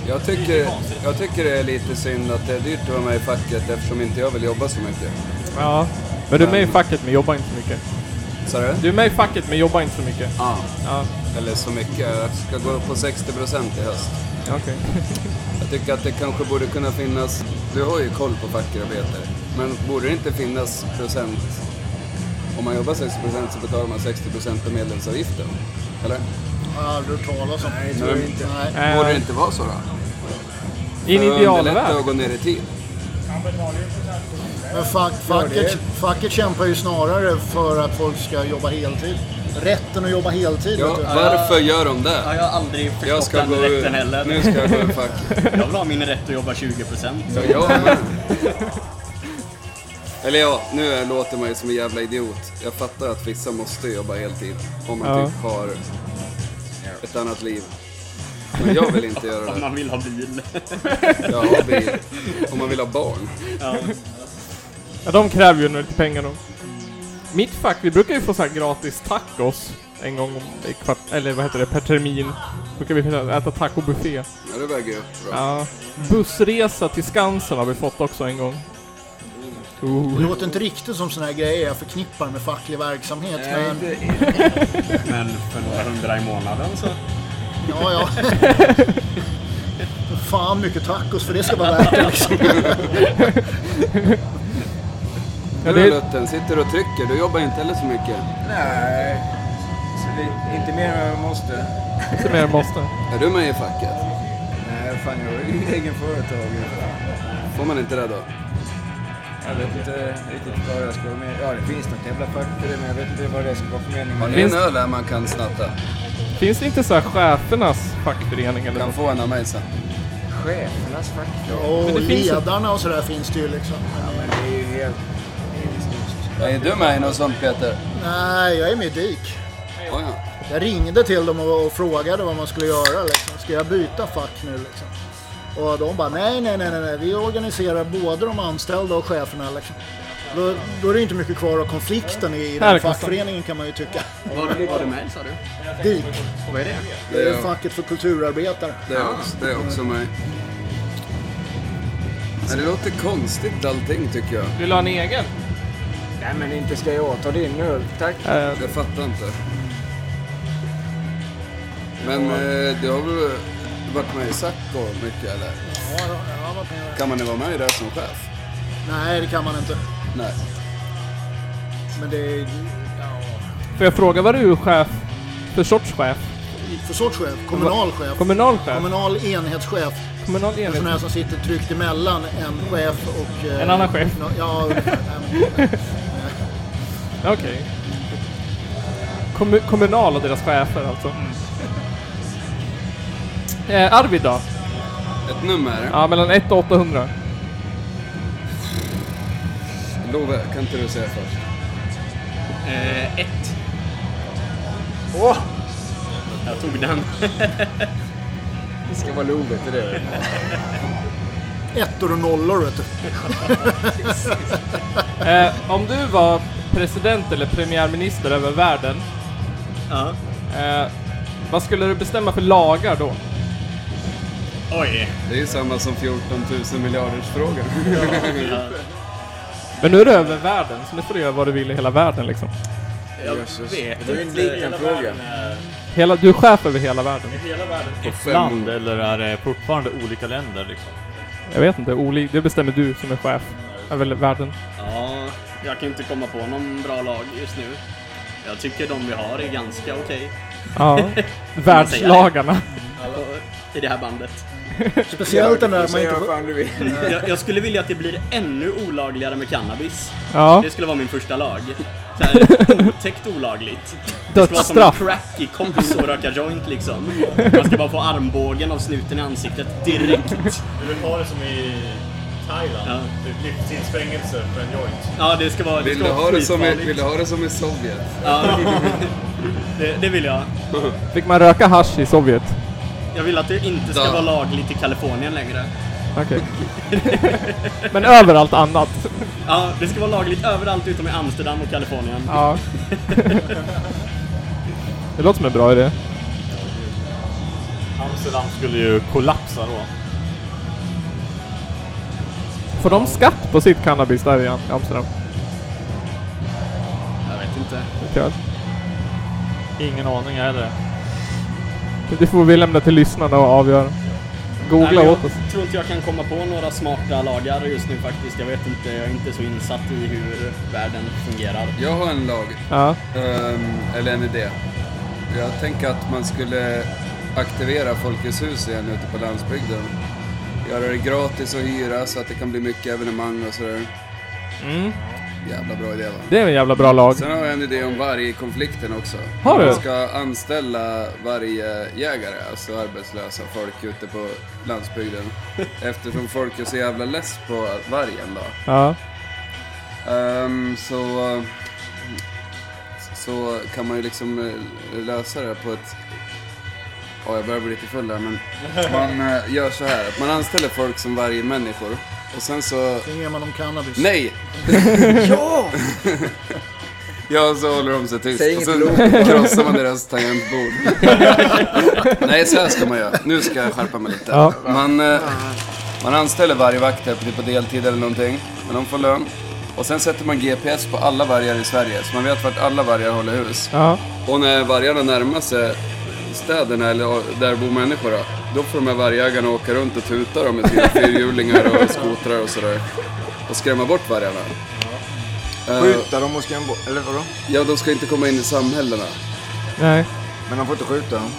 Speaker 6: Jag tycker, jag tycker det är lite synd att det är dyrt att vara med i facket eftersom inte jag vill jobba så mycket.
Speaker 4: Ja. Men du är med i facket men jobbar inte så mycket.
Speaker 6: Sa du?
Speaker 4: Du är med i facket men jobbar inte så mycket.
Speaker 6: Ja.
Speaker 4: Ja,
Speaker 6: Eller så mycket. Jag ska gå upp på 60% i höst.
Speaker 4: okej.
Speaker 6: Jag tycker att det kanske borde kunna finnas, du har ju koll på fackarbetare, men borde det inte finnas procent, om man jobbar 60% så betalar man 60% av medlemsavgiften? Eller?
Speaker 1: Jag har aldrig hört talas om. Nej,
Speaker 6: tror jag inte.
Speaker 1: Nej.
Speaker 4: Eh,
Speaker 6: Borde det inte vara så då?
Speaker 4: I en
Speaker 6: För att underlätta
Speaker 4: idealvärld.
Speaker 6: att gå ner i tid.
Speaker 1: Men fack, facket, facket kämpar ju snarare för att folk ska jobba heltid. Rätten att jobba heltid.
Speaker 6: Ja,
Speaker 1: vet du.
Speaker 6: varför gör de
Speaker 2: Ja,
Speaker 6: det?
Speaker 2: jag har aldrig
Speaker 6: Jag
Speaker 2: förstått
Speaker 6: ska
Speaker 2: den
Speaker 6: gå ur,
Speaker 2: rätten heller.
Speaker 6: nu ska jag gå ur facket.
Speaker 2: Jag vill ha min rätt att jobba 20%.
Speaker 6: Så jag med. Eller ja, nu låter man ju som en jävla idiot. Jag fattar att vissa måste jobba heltid om man
Speaker 4: Ja.
Speaker 6: typ har ett annat liv. Men jag vill inte göra
Speaker 2: Om
Speaker 6: det.
Speaker 2: man vill ha bil.
Speaker 6: Jag har bil. Om man vill ha barn.
Speaker 4: Ja, de kräver ju lite pengar då. Mm. Mitt fack, vi brukar ju få så här gratis tacos en gång om- i kvart, eller vad heter det, per termin. Brukar vi kunna äta tacobuffé.
Speaker 6: Ja, det väger ju upp bra.
Speaker 4: Ja. Bussresa till Skansen har vi fått också en gång.
Speaker 1: Det låter inte riktigt som sådana här grejer jag förknippar med facklig verksamhet. men,
Speaker 2: Men för några hundra i månaden så...
Speaker 1: ja, ja. Fan mycket tacos för det ska vara värt det. Liksom.
Speaker 4: Ja,
Speaker 6: Du
Speaker 4: det,
Speaker 6: Lutten, sitter och trycker. Du jobbar inte heller så mycket.
Speaker 3: Nej, så det, inte mer än jag måste.
Speaker 4: inte mer än måste.
Speaker 6: Är du med i facket?
Speaker 3: Nej, fan jag är ju egen företagare.
Speaker 6: Får man inte det då?
Speaker 3: Jag vet inte riktigt vad jag ska vara med Ja, det finns något jävla fack för det, men jag vet inte vad det ska vara för mening
Speaker 6: Har
Speaker 3: med
Speaker 6: ni
Speaker 4: Finns-
Speaker 6: en öl här man kan snatta?
Speaker 4: Finns det inte så här chefernas fackförening eller
Speaker 6: Kan
Speaker 4: något?
Speaker 6: få en av mig sen.
Speaker 3: chefernas fack. då?
Speaker 1: Och
Speaker 4: det finns ju-
Speaker 1: ledarna och sådär finns det ju liksom.
Speaker 3: Men det är ju helt...
Speaker 6: Är du med i något sånt Peter?
Speaker 1: Nej, jag är med i DIK.
Speaker 6: Oh, ja.
Speaker 1: Jag ringde till dem och, och frågade vad man skulle göra. Liksom. Ska jag byta fack nu? Liksom? Och de bara, nej, nej, nej, nej, nej. vi organiserar både de anställda och cheferna. Liksom. Då, då är det inte mycket kvar av konflikten i
Speaker 4: Här är
Speaker 1: den
Speaker 4: konstant.
Speaker 1: fackföreningen kan man ju tycka.
Speaker 2: Var, var du med sa du?
Speaker 1: DIK,
Speaker 2: Vad är det?
Speaker 1: det är
Speaker 6: Ja.
Speaker 1: ju facket för kulturarbetare.
Speaker 6: Det är också, det är också mig. Men det låter konstigt allting tycker jag.
Speaker 4: Vill du ha en egen?
Speaker 3: Nej, men inte ska jag ta din öl, tack.
Speaker 4: Eh,
Speaker 6: Jag fattar inte. Men eh, du har väl varit med i Sacco mycket eller?
Speaker 1: Ja, ja, jag har varit med.
Speaker 6: Kan man ju vara med i det som chef?
Speaker 1: Nej, det kan man inte.
Speaker 6: Nej.
Speaker 1: Men det är...
Speaker 4: Får jag fråga vad du är chef för sorts chef?
Speaker 1: För sorts chef? Kommunal chef?
Speaker 4: Kommunal chef?
Speaker 1: Kommunal enhetschef.
Speaker 4: Kommunal
Speaker 1: En sån
Speaker 4: enhet?
Speaker 1: här som sitter tryckt emellan en chef och... eh,
Speaker 4: En annan chef.
Speaker 1: nå- Ja, ungefär. Nej, men-
Speaker 4: Okej. Kommu- kommunal och deras chefer alltså. Eh, Arvid då?
Speaker 6: Ett nummer.
Speaker 4: Ja, mellan 1 och 800.
Speaker 6: Love, kan inte du säga först?
Speaker 2: Eh, ett. Åh! Jag tog den.
Speaker 6: Det ska vara Love till det.
Speaker 1: Ettor och nollor vet du.
Speaker 4: Eh, om du var president eller premiärminister över världen,
Speaker 2: ja.
Speaker 4: eh, vad skulle du bestämma för lagar då?
Speaker 2: Oj.
Speaker 6: Det är ju samma som 14 000 miljarders frågan.
Speaker 4: Men nu är det över världen, så nu får du göra vad du vill i hela världen liksom.
Speaker 2: Jag
Speaker 3: Jösses.
Speaker 2: vet inte.
Speaker 3: Det var ju en liten
Speaker 2: Hela
Speaker 3: fråga.
Speaker 2: världen är-
Speaker 4: Hela, du är chef över hela världen.
Speaker 2: Hela världen. är-
Speaker 6: Fem
Speaker 5: Land
Speaker 6: ord.
Speaker 5: eller är det fortfarande olika länder liksom?
Speaker 4: Jag vet inte, Oli, det bestämmer du som är chef över världen.
Speaker 2: Ja, jag kan inte komma på någon bra lag just nu. Jag tycker de vi har är ganska okej.
Speaker 4: Ja. Världslagarna.
Speaker 2: I det här bandet.
Speaker 1: Speciellt den där man
Speaker 3: Säg
Speaker 1: inte
Speaker 3: vad
Speaker 1: får...
Speaker 3: fan du vill.
Speaker 2: Jag, jag skulle vilja att det blir ännu olagligare med cannabis.
Speaker 4: Ja.
Speaker 2: Det skulle vara min första lag. Så här, otäckt olagligt. Det ska vara som en
Speaker 4: Dödsstraff.
Speaker 2: crack i kompis och röka joint liksom. Man ska bara få armbågen av snuten i ansiktet direkt.
Speaker 5: Du vill ha det som i Thailand?
Speaker 2: Ja.
Speaker 5: Typ livstidsfängelse för en joint?
Speaker 2: Ja, det ska vara... Det
Speaker 6: Vill
Speaker 2: ska
Speaker 6: du,
Speaker 2: vara
Speaker 6: ha det som i,
Speaker 2: skitfarligt.
Speaker 6: vill du ha det som i Sovjet?
Speaker 2: Ja, det, det vill jag.
Speaker 4: Fick man röka hasch i Sovjet?
Speaker 2: Jag vill att det inte ska
Speaker 6: Ja.
Speaker 2: vara lagligt i Kalifornien längre.
Speaker 4: Okej. Men överallt annat.
Speaker 2: Ja, det ska vara lagligt överallt utom i Amsterdam och Kalifornien.
Speaker 4: Ja. Det låter som en bra idé.
Speaker 5: Amsterdam skulle ju kollapsa då.
Speaker 4: Får de skatt på sitt cannabis där i Am- Amsterdam?
Speaker 2: Jag vet inte.
Speaker 4: Kul.
Speaker 5: Ingen aning heller.
Speaker 4: Det får vi lämna till lyssnarna och avgöra. Googla
Speaker 2: Nej,
Speaker 4: åt oss.
Speaker 2: Jag tror inte jag kan komma på några smarta lagar just nu faktiskt. Jag vet inte, jag är inte så insatt i hur världen fungerar.
Speaker 6: Jag har en lag.
Speaker 4: Ja.
Speaker 6: Ehm, eller en idé. Jag tänker att man skulle aktivera Folkets hus igen ute på landsbygden. Göra det gratis att hyra så att det kan bli mycket evenemang och sådär.
Speaker 4: Mm.
Speaker 6: Jävla bra idé va?
Speaker 4: Det är en jävla bra lag.
Speaker 6: Sen har jag en idé om vargkonflikten också.
Speaker 4: Har du?
Speaker 6: Man ska anställa vargjägare, alltså arbetslösa folk ute på landsbygden. Eftersom folk är så jävla less på vargen då.
Speaker 4: Ja.
Speaker 6: Ehm, så, eh, så kan man ju liksom eh, lösa det på ett... Ja, jag börjar bli lite full där, men man eh, gör så här. att Man anställer folk som varje människor och sen så...
Speaker 1: Sen ger man dem cannabis.
Speaker 6: Nej!
Speaker 3: Ja!
Speaker 6: Ja, så håller de sig tyst.
Speaker 3: Säg
Speaker 6: och
Speaker 3: inget
Speaker 6: så krossar man deras tangentbord. Nej, så här ska man göra. Nu ska jag skärpa mig lite.
Speaker 4: Ja.
Speaker 6: Man, eh, man anställer vargvakter på, typ på deltid eller någonting, men de får lön. Och sen sätter man GPS på alla vargar i Sverige, så man vet vart alla vargar håller hus.
Speaker 4: Ja.
Speaker 6: Och när vargarna närmar sig städerna, eller där bor människor, då, då får de här vargjägarna åka runt och tuta dem med sina fyrhjulingar och skotrar och sådär. Och skrämma bort vargarna. Eh,
Speaker 3: Skjuta dem och skrämma bort... Eller vadå?
Speaker 6: Ja, de ska inte komma in i samhällena.
Speaker 4: Nej.
Speaker 3: Men de får inte skjuta dem.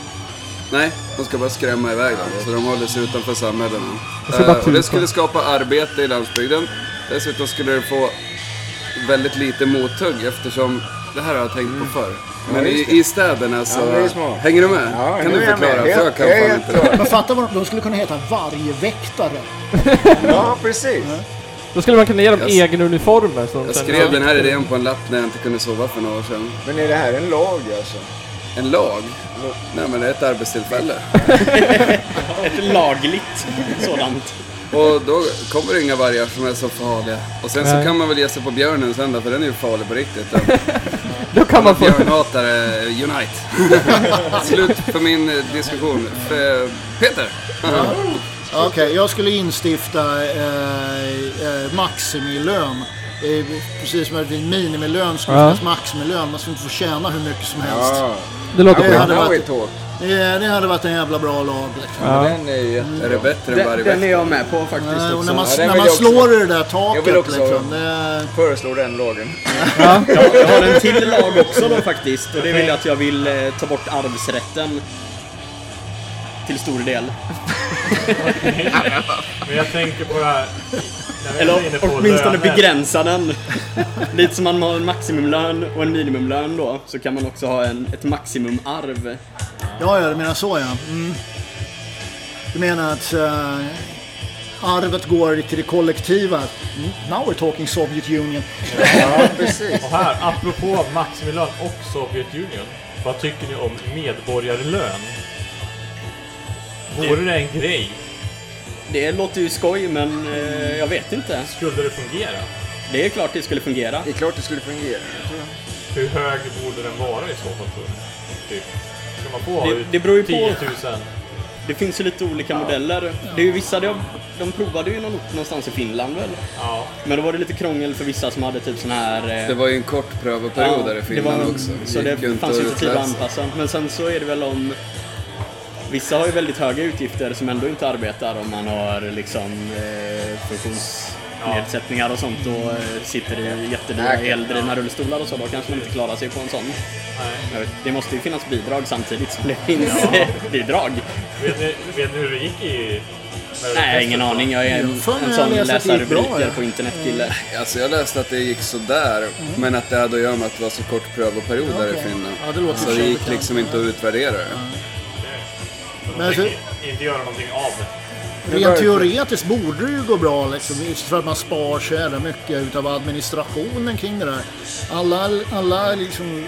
Speaker 6: Nej, de ska bara skrämma iväg dem. Så de håller sig utanför samhällena.
Speaker 4: ska bara
Speaker 6: Eh, och
Speaker 4: tuta.
Speaker 6: det skulle skapa arbete i landsbygden. Dessutom skulle det få väldigt lite mothugg eftersom det här har jag tänkt
Speaker 3: Mm.
Speaker 6: på förr. Men i, i städerna så...
Speaker 3: Ja, det är smart.
Speaker 6: hänger du med?
Speaker 3: Ja,
Speaker 6: kan
Speaker 3: nu
Speaker 6: du
Speaker 3: är jag
Speaker 6: förklara?
Speaker 3: med.
Speaker 6: För jag kan
Speaker 3: Jag är
Speaker 6: fan
Speaker 3: helt
Speaker 6: inte det.
Speaker 1: Men fatta vad de, de skulle kunna heta vargväktare.
Speaker 3: Ja, precis.
Speaker 4: Då skulle man kunna ge dem
Speaker 6: Jag s-
Speaker 4: egen uniformer. Så de
Speaker 6: Jag
Speaker 4: sen-
Speaker 6: skrev den här idén på en lapp när jag inte kunde sova för några år sedan.
Speaker 3: Men är det här en lag alltså?
Speaker 6: En lag? Nej men det är ett arbetstillfälle.
Speaker 2: Ett lagligt sådant.
Speaker 6: Och då kommer det inga vargar som är så farliga. Och sen så
Speaker 4: Nej.
Speaker 6: kan man väl ge sig på björnen sen då, för den är ju farlig på riktigt. Den.
Speaker 4: Då kan man få...
Speaker 6: Björnhatare Unite. Slut på min eh, diskussion. F- Peter!
Speaker 1: Okej, jag skulle instifta eh, eh, maximilön. Eh, precis som att det är minimilön skulle
Speaker 4: Ja.
Speaker 1: finnas maximilön. Man skulle inte få tjäna hur mycket som helst.
Speaker 4: Det låter
Speaker 1: Det
Speaker 4: bra.
Speaker 1: hade
Speaker 3: Now
Speaker 1: varit-
Speaker 3: we talk.
Speaker 1: Det, det hade varit en jävla bra lag. Liksom.
Speaker 6: Men Den är ju jätte... Är det bättre än
Speaker 2: Den,
Speaker 6: varje
Speaker 2: den är
Speaker 6: vecka?
Speaker 2: jag med på faktiskt
Speaker 1: Eh, och
Speaker 2: också.
Speaker 1: när man,
Speaker 6: Ja, den
Speaker 1: när
Speaker 6: vill
Speaker 1: man
Speaker 6: jag också
Speaker 1: slår i det där
Speaker 6: Jag
Speaker 1: taket
Speaker 6: vill också ha
Speaker 1: liksom.
Speaker 6: den.
Speaker 1: Det,
Speaker 6: Föreslår den lagen.
Speaker 2: Ja, jag har en till lag också då faktiskt. Och det vill jag att jag vill eh, ta bort arvsrätten. Till stor del.
Speaker 5: Men jag tänker på det här... när vi är inne
Speaker 2: Eller
Speaker 5: på
Speaker 2: åtminstone
Speaker 5: löner.
Speaker 2: begränsa den. Lite som man har en maximumlön och en minimumlön då, så kan man också ha en, ett maximumarv.
Speaker 1: ja, ja, du menar så ja. Mm. Du menar att eh, arvet går till det kollektiva. Mm. Now we're talking Soviet Union.
Speaker 5: Och här, apropå maximilön och Sovjetunionen. Vad tycker ni om medborgarlön? Vore det en grej?
Speaker 2: Det låter ju skoj, men eh, jag vet inte.
Speaker 5: Skulle det fungera?
Speaker 2: Det är klart det skulle fungera.
Speaker 6: Det är klart det skulle fungera.
Speaker 5: Hur hög borde den vara i så fall tror ni? Typ. Ska man få
Speaker 2: Det-
Speaker 5: ut
Speaker 2: det beror ju på.
Speaker 5: 10 000?
Speaker 2: Det finns ju lite olika modeller. Det är ju vissa, de, de provade ju någon- någonstans i Finland väl?
Speaker 5: Ja.
Speaker 2: Men då var det lite krångel för vissa som hade typ sån här... eh,
Speaker 6: Det var ju en kort prövoperiod där i Finland
Speaker 2: det var-
Speaker 6: också.
Speaker 2: Så
Speaker 6: gick ju
Speaker 2: det
Speaker 6: inte
Speaker 2: fanns
Speaker 6: att
Speaker 2: inte tid att
Speaker 6: utläsa.
Speaker 2: anpassa. Men sen så är det väl om... Vissa har ju väldigt höga utgifter som ändå inte arbetar om man har liksom eh, funktionsnedsättningar och sånt och eh, sitter i jättedyra
Speaker 6: Nej.
Speaker 2: eldrivna rullstolar och så. Då kanske man inte klarar sig på en sån.
Speaker 5: Nej.
Speaker 2: Jag vet, Det måste ju finnas bidrag samtidigt som det finns eh, bidrag.
Speaker 5: Vet ni, vet ni hur det gick i... när det
Speaker 2: Nej, ingen
Speaker 5: testet?
Speaker 2: aning. Jag är en,
Speaker 1: Fan,
Speaker 2: en
Speaker 1: jag
Speaker 2: sån
Speaker 1: läser att det
Speaker 2: läsar
Speaker 1: gick bra,
Speaker 2: rubriker
Speaker 1: ja.
Speaker 2: på internetkille.
Speaker 6: Alltså jag läste att det gick sådär, men att det hade att göra med att det var så kort prövoperiod där i
Speaker 1: Mm. okej.
Speaker 6: Finland.
Speaker 1: Ja, det typ låter
Speaker 6: så
Speaker 1: i och för
Speaker 6: det
Speaker 1: sig
Speaker 6: gick
Speaker 1: bekant.
Speaker 6: liksom inte att utvärdera det.
Speaker 5: De
Speaker 1: Men alltså,
Speaker 5: tänker inte göra någonting av det.
Speaker 1: Rent teoretiskt borde det ju gå bra liksom, just för att man spar så jävla mycket utav administrationen kring det där. Alla, alla liksom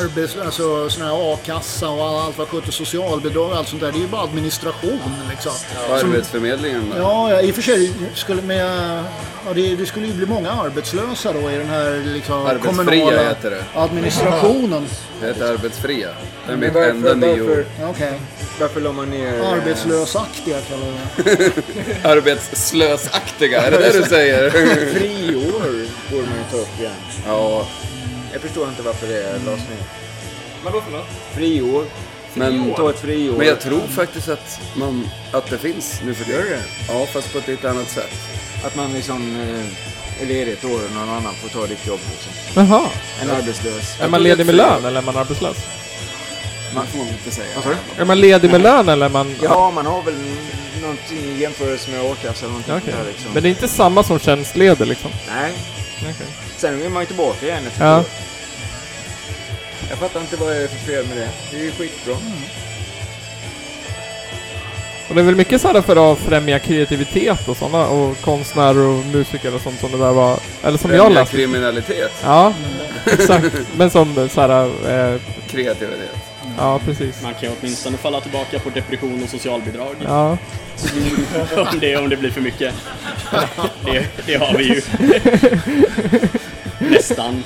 Speaker 1: arbets, alltså sån här a-kassa och allt vad sjutton, socialbidrag och allt sånt där. Det är ju bara administration liksom.
Speaker 6: Och Arbetsförmedlingen då?
Speaker 1: Ja, ja i och för sig skulle med, ja, det, det skulle ju bli många arbetslösa då i den här liksom,
Speaker 6: Arbetsfria
Speaker 1: kommunala
Speaker 6: heter det.
Speaker 1: administrationen.
Speaker 6: Det heter arbetsfria. Det är mitt
Speaker 3: Varför-
Speaker 6: enda nyord.
Speaker 3: varför-
Speaker 1: Ja, Okej,
Speaker 3: Varför la man ner... eh,
Speaker 1: arbetslösaktiga kallar vi det.
Speaker 6: Arbetsslösaktiga, är det det du säger?
Speaker 3: Friår borde man ju ta upp igen.
Speaker 6: ja,
Speaker 3: Jag förstår inte varför det lades ner.
Speaker 5: Men varför då?
Speaker 3: Friår.
Speaker 6: men,
Speaker 3: Ta ett friår.
Speaker 6: men jag tror faktiskt att, man, att det finns nu för
Speaker 3: Gör
Speaker 6: tiden.
Speaker 3: det?
Speaker 6: Ja, fast på ett lite annat sätt.
Speaker 3: Att man liksom eh, är ledig ett år och någon annan får ta ditt jobb. Liksom.
Speaker 4: Jaha.
Speaker 3: En arbetslös.
Speaker 4: Är man ledig med lön eller är man arbetslös?
Speaker 6: Man får inte säga.
Speaker 3: Vad sa du?
Speaker 4: Är man ledig med lön eller är man...
Speaker 3: Ja, man har väl någonting i jämförelse med a-kassa eller någonting
Speaker 4: Okej.
Speaker 3: där liksom.
Speaker 4: Men det är inte samma som tjänstledig liksom?
Speaker 3: Nej. Sen är man ju tillbaka igen efter
Speaker 4: Ja.
Speaker 3: ett år. Jag fattar inte vad det är för fel med det. Det är ju skitbra.
Speaker 4: Och det är väl mycket så här för att främja kreativitet och sådana och konstnärer och musiker och sånt som det där var. Eller som jag
Speaker 6: Främja
Speaker 4: läste.
Speaker 6: kriminalitet,
Speaker 4: Ja, exakt. Men som så här, eh,
Speaker 6: kreativitet.
Speaker 4: ja precis.
Speaker 2: Man kan ju åtminstone falla tillbaka på depression och socialbidrag.
Speaker 4: Ja.
Speaker 2: om, det, om det blir för mycket. Det, det har vi ju. Nästan.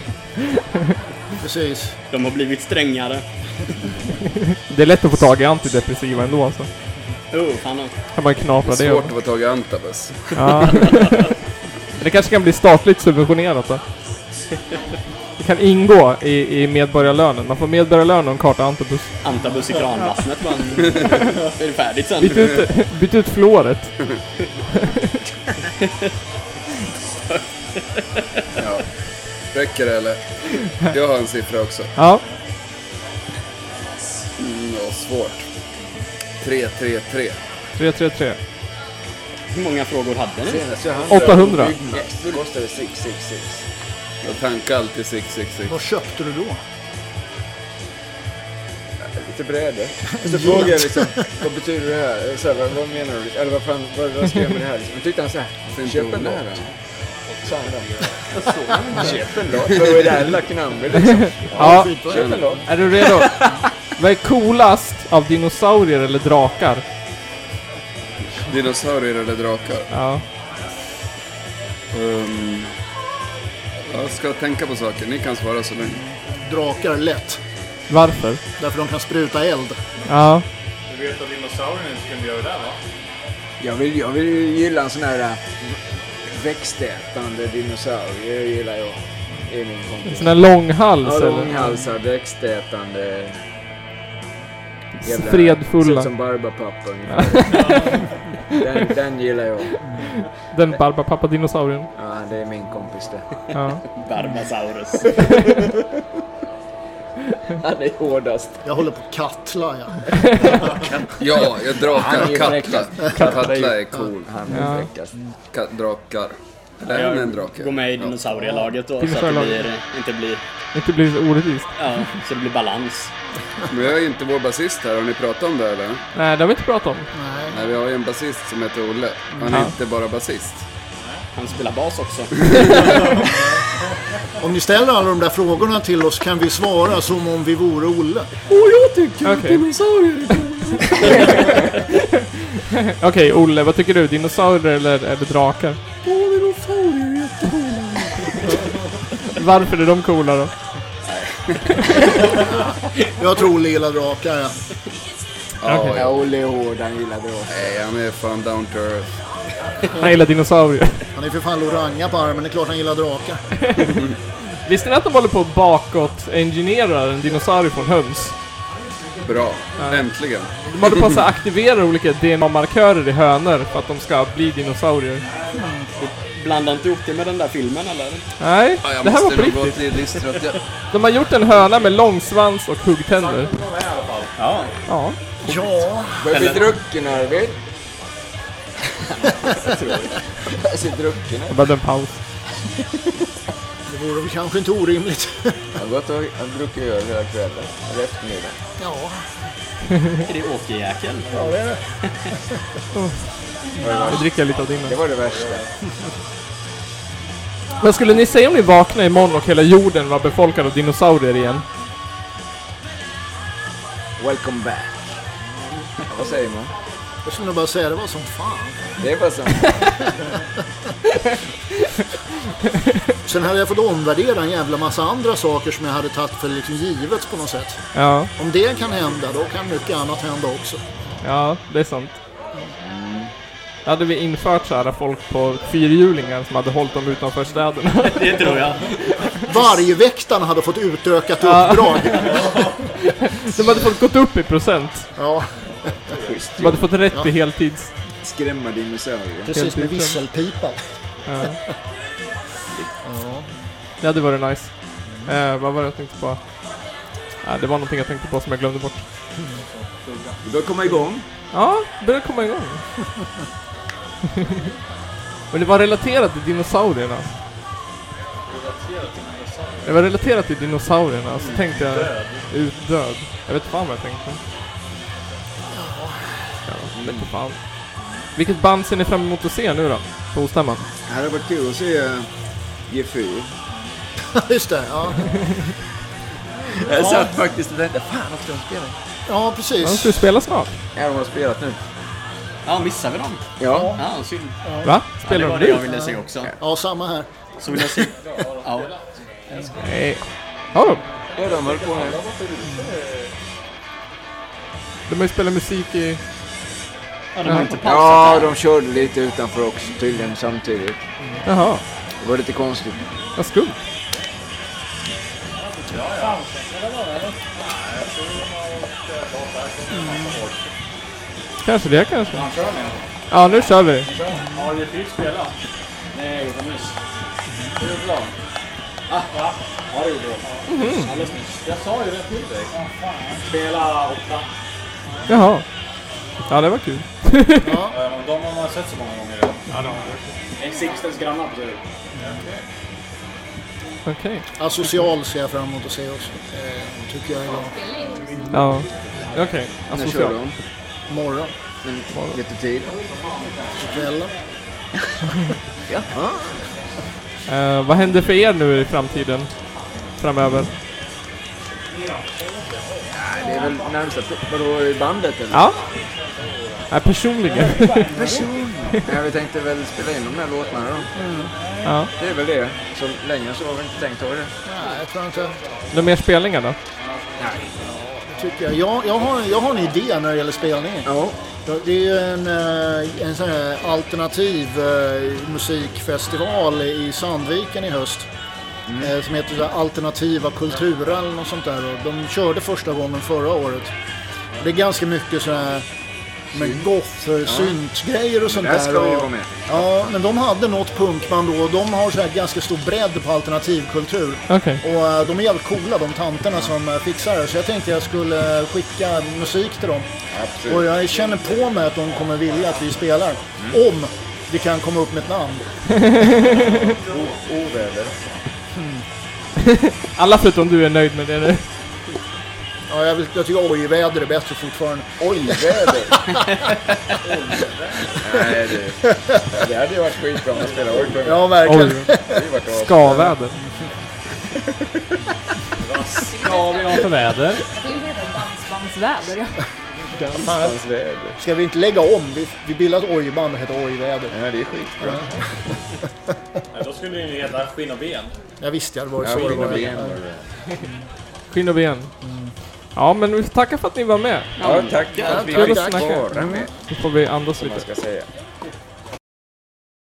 Speaker 1: Precis.
Speaker 2: De har blivit strängare.
Speaker 4: Det är lätt att få tag i antidepressiva ändå alltså.
Speaker 2: Oh, fan.
Speaker 4: Kan man knapra det.
Speaker 6: Svårt att få tag i antabus.
Speaker 4: Ja. Det kanske kan bli statligt subventionerat då. Det kan ingå i, i medborgarlönen. Man får medborgarlön och en karta antabus.
Speaker 2: Antabus i kranvattnet bara. Då är det färdigt sen.
Speaker 4: Byt ut, byt ut fluoret.
Speaker 6: Ja. Räcker det eller? Jag har en siffra också.
Speaker 4: Ja.
Speaker 6: Mm, ja, svårt. 333.
Speaker 4: 333.
Speaker 2: Hur många frågor hade ni?
Speaker 3: Senast jag hann
Speaker 4: 800.
Speaker 3: det kostade 666.
Speaker 6: Jag tankar alltid 666.
Speaker 1: Vad köpte du då?
Speaker 3: Lite bräde. Och så frågade jag liksom, vad betyder det här? Eh, Så här vad, vad menar du? Eller vad fan, vad, vad ska jag med det här? Liksom. Och tyckte han så här, köp en låt. Sa han då. Köp en låt. Vad är det här Lucky Number liksom?
Speaker 4: Ja.
Speaker 3: Köp en låt.
Speaker 4: Är du redo? Vad är coolast av dinosaurier eller drakar?
Speaker 6: Dinosaurier eller drakar?
Speaker 4: Ja.
Speaker 6: Ehm, jag ska tänka på saker. Ni kan svara så länge.
Speaker 1: Drakar lätt.
Speaker 4: Varför?
Speaker 1: Därför de kan spruta eld.
Speaker 4: Ja.
Speaker 5: Du vet att dinosaurierna inte kunde göra det där va?
Speaker 3: Jag vill, jag vill ju gilla en sån här eh, växtätande dinosaurie. Det gillar jag. Det är min kompis.
Speaker 4: Sån här långhals
Speaker 3: Ja,
Speaker 4: eller?
Speaker 3: långhalsad, växtätande. Jävla-
Speaker 4: Fredfulla.
Speaker 3: ser ut Som Barbapapa ungefär. den, den gillar jag.
Speaker 4: Den Barbapapa-dinosaurien.
Speaker 3: Ja, det är min kompis det.
Speaker 4: Ja.
Speaker 2: Barbasaurus.
Speaker 3: Han är hårdast.
Speaker 1: Jag håller på Katla, ja.
Speaker 6: Ja, jag
Speaker 3: Han är
Speaker 6: drakar
Speaker 3: ju
Speaker 6: kattlar.
Speaker 3: fräckast.
Speaker 6: Kattlar är cool.
Speaker 3: Han är
Speaker 4: Ja.
Speaker 3: fräckast.
Speaker 6: Ka- drakar. Eller är
Speaker 2: Jag
Speaker 6: hon en
Speaker 2: går
Speaker 6: drake?
Speaker 2: med i dinosaurielaget då, så att det
Speaker 4: Dinosaurielaget.
Speaker 2: blir, inte blir,
Speaker 4: Inte blir så orättvist.
Speaker 2: ja, så det blir balans.
Speaker 6: Men vi har ju inte vår basist här, har ni pratat om det eller?
Speaker 4: Nej, det har vi inte pratat om.
Speaker 1: Nej.
Speaker 6: Nej, vi har ju en basist som heter Olle. Han är
Speaker 4: Ja.
Speaker 6: inte bara basist.
Speaker 2: Han spelar bas också.
Speaker 1: Om ni ställer alla de där frågorna till oss kan vi svara som om vi vore Olle.
Speaker 4: Okej, Okej, Olle, vad tycker du? Dinosaurier eller, eller drakar? Varför är de coola då?
Speaker 1: Jag tror Olle gillar drakar, ja.
Speaker 6: Ja,
Speaker 4: Okej.
Speaker 3: Ja, Olle är hård. Han gillar dråp.
Speaker 6: Nej, han är fan down to earth.
Speaker 4: Han gillar dinosaurier.
Speaker 1: Han är för fan Loranga på armen, det är klart han gillar drakar.
Speaker 4: Visste ni att de håller på att bakåt-engineera en dinosaurie från höns?
Speaker 6: Bra. Äntligen.
Speaker 4: De håller på att så här aktivera olika DNA-markörer i hönor för att de ska bli dinosaurier.
Speaker 2: Blanda inte ihop det med den där filmen eller?
Speaker 4: Nej,
Speaker 6: Ja, jag
Speaker 4: det här var på
Speaker 6: måste nog gå
Speaker 4: riktigt.
Speaker 6: till listret. Jag-
Speaker 4: De har gjort en höna med lång svans och huggtänder.
Speaker 2: Ja.
Speaker 4: Ja.
Speaker 1: Ja,
Speaker 3: Börjar bli drucken Arvid. Jag ser drucken ut.
Speaker 4: Jag behövde en paus.
Speaker 1: det vore väl kanske inte orimligt.
Speaker 3: Jag har gått och jag har druckit öl hela kvällen. Eller eftermiddagen.
Speaker 1: Ja,
Speaker 2: Är det åkerjäkel?
Speaker 4: Nu dricker jag lite av din.
Speaker 3: Det var det värsta.
Speaker 4: Vad skulle ni säga om ni vaknade imorgon och hela jorden var befolkad av dinosaurier igen?
Speaker 3: Welcome back. Ja, vad säger man?
Speaker 1: jag skulle nog bara säga det var som fan.
Speaker 3: Det är bara så.
Speaker 1: Sen hade jag fått omvärdera en jävla massa andra saker som jag hade tagit för liksom givet på något sätt.
Speaker 4: Ja,
Speaker 1: Om det kan hända, då kan mycket annat hända också.
Speaker 4: ja, det är sant. Då hade vi infört så här folk på fyrhjulingar som hade hållit dem utanför städerna.
Speaker 2: Det tror jag.
Speaker 1: Vargväktarna hade fått utökat uppdrag.
Speaker 4: De hade fått gått upp i procent.
Speaker 1: Ja,
Speaker 4: De hade fått rätt till heltids...
Speaker 3: Skrämma dinosaurier.
Speaker 1: precis med
Speaker 4: Helt utan.
Speaker 1: visselpipan.
Speaker 4: Ja.
Speaker 1: Ja.
Speaker 4: Det hade varit nice. Eh, vad var det jag tänkte på? Ja, det var någonting jag tänkte på som jag glömde bort.
Speaker 3: Vi bör komma igång.
Speaker 4: Ja, börjar komma igång. Men det var relaterat till dinosaurierna. Det var relaterat till dinosaurierna, så tänkte jag... Utdöd. Jag vet fan vad jag tänkte. Ja, jag vet fan. Vilket band ser ni fram emot att se nu då? På ostämman?
Speaker 3: Det hade varit kul att se eh, G4.
Speaker 1: Just det, ja.
Speaker 3: Jag satt faktiskt och tänkte, fan
Speaker 1: ja
Speaker 4: De ska ju
Speaker 1: precis.
Speaker 4: spela snart.
Speaker 3: är de har spelat nu?
Speaker 2: Ja, missar vi dem?
Speaker 3: Ja.
Speaker 2: Ja, synd.
Speaker 4: Va?
Speaker 2: Ja, det
Speaker 4: Spelar
Speaker 2: var
Speaker 4: de
Speaker 2: det jag
Speaker 4: nu?
Speaker 2: ville se också.
Speaker 1: Ja, samma här.
Speaker 2: Så vill jag se... Ja.
Speaker 4: Nej. Har de?
Speaker 3: Ja, de höll på nu.
Speaker 4: De har ju spelat musik i...
Speaker 2: ja, de har inte
Speaker 3: Ja,
Speaker 2: pausat
Speaker 3: de körde lite utanför också tydligen samtidigt.
Speaker 4: Jaha.
Speaker 3: Det var lite konstigt.
Speaker 4: Vad skumt. Kanske det kanske. Ja, nu kör vi.
Speaker 5: Har du fyllt spela? Nej, utan nyss. Flygplan. Ah, va? Ja, det gjorde de. Alldeles nyss. Jag sa ju det till dig. Spela åtta.
Speaker 4: Jaha. Ja, det var kul.
Speaker 5: Eh, De har man sett så många gånger redan. Ja, de har jag. Sixtens grannar på tur.
Speaker 4: Okej.
Speaker 1: Asocial ser jag fram emot att se också. Eh, tycker jag idag.
Speaker 4: Ja. Okej.
Speaker 3: När kör
Speaker 4: Asocial.
Speaker 3: de?
Speaker 1: Morgon,
Speaker 3: Lite tid.
Speaker 1: på kvällen.
Speaker 4: Eh, vad händer för er nu i framtiden? Framöver?
Speaker 3: Nej, det är väl närmsta... Vadå, i bandet eller?
Speaker 4: Ja. Nej, personligen.
Speaker 3: Nej, vi tänkte väl spela in de här låtarna då.
Speaker 4: ja.
Speaker 3: Det är väl det. Så länge så har vi inte tänkt ha det.
Speaker 1: Nej, jag tror inte.
Speaker 4: Några mer spelningar då?
Speaker 1: Tycker jag. Jag, jag, har, jag har en idé när det gäller spelningen.
Speaker 3: Ja.
Speaker 1: Ja, Det är ju en, eh, en sån här alternativ eh, musikfestival i Sandviken i höst.
Speaker 3: Mm.
Speaker 1: eh, Som heter så här Alternativa Kulturen och sånt där. Och de körde första gången förra året. Det är ganska mycket så här med goffer, syntgrejer och sånt
Speaker 3: där ska vi ju
Speaker 1: och-
Speaker 3: vara med.
Speaker 1: Ja, men de hade något punkband då och de har så här ganska stor bredd på alternativkultur.
Speaker 4: Okej.
Speaker 1: Och eh, de är jävligt coola de tanterna som eh, fixar det. Så jag tänkte jag skulle eh, skicka musik till dem.
Speaker 3: Absolut.
Speaker 1: Och jag känner på mig att de kommer vilja att vi spelar.
Speaker 3: Mm.
Speaker 1: Om vi kan komma upp med ett namn.
Speaker 3: O- Oväder.
Speaker 4: Alla förutom du är nöjd med det nu.
Speaker 1: Ja, jag, vill, jag tycker oj-väder är bättre fortfarande.
Speaker 3: Ojväder. Nej, det, ja, det hade ju varit skitbra om man spelade oj på en
Speaker 1: Ja, verkligen.
Speaker 4: Oj,
Speaker 3: Det hade ju varit as-
Speaker 4: skaväder.
Speaker 7: Ja, vi har för väder.
Speaker 8: Det är redan dansbandsväder. ja.
Speaker 1: Fan,
Speaker 3: Hans väder.
Speaker 1: Ska vi inte lägga om? Vi, vi bildar ett oj-band och heter oj-väder.
Speaker 3: Ja, det är skitbra.
Speaker 5: Nej, då skulle den ju heta Skinn och ben.
Speaker 1: Jag visste jag det var ju
Speaker 3: Ja,
Speaker 1: så det
Speaker 3: skinn
Speaker 1: var.
Speaker 3: och ben var det.
Speaker 4: Skinn och ben.
Speaker 7: Mm.
Speaker 4: Ja, men vi tackar för att ni var med.
Speaker 3: Ja, tack för att vi
Speaker 4: Kul att
Speaker 3: fick
Speaker 4: snacka.
Speaker 3: vara med,
Speaker 4: Nu får vi andas
Speaker 3: man
Speaker 4: lite.
Speaker 3: ska säga.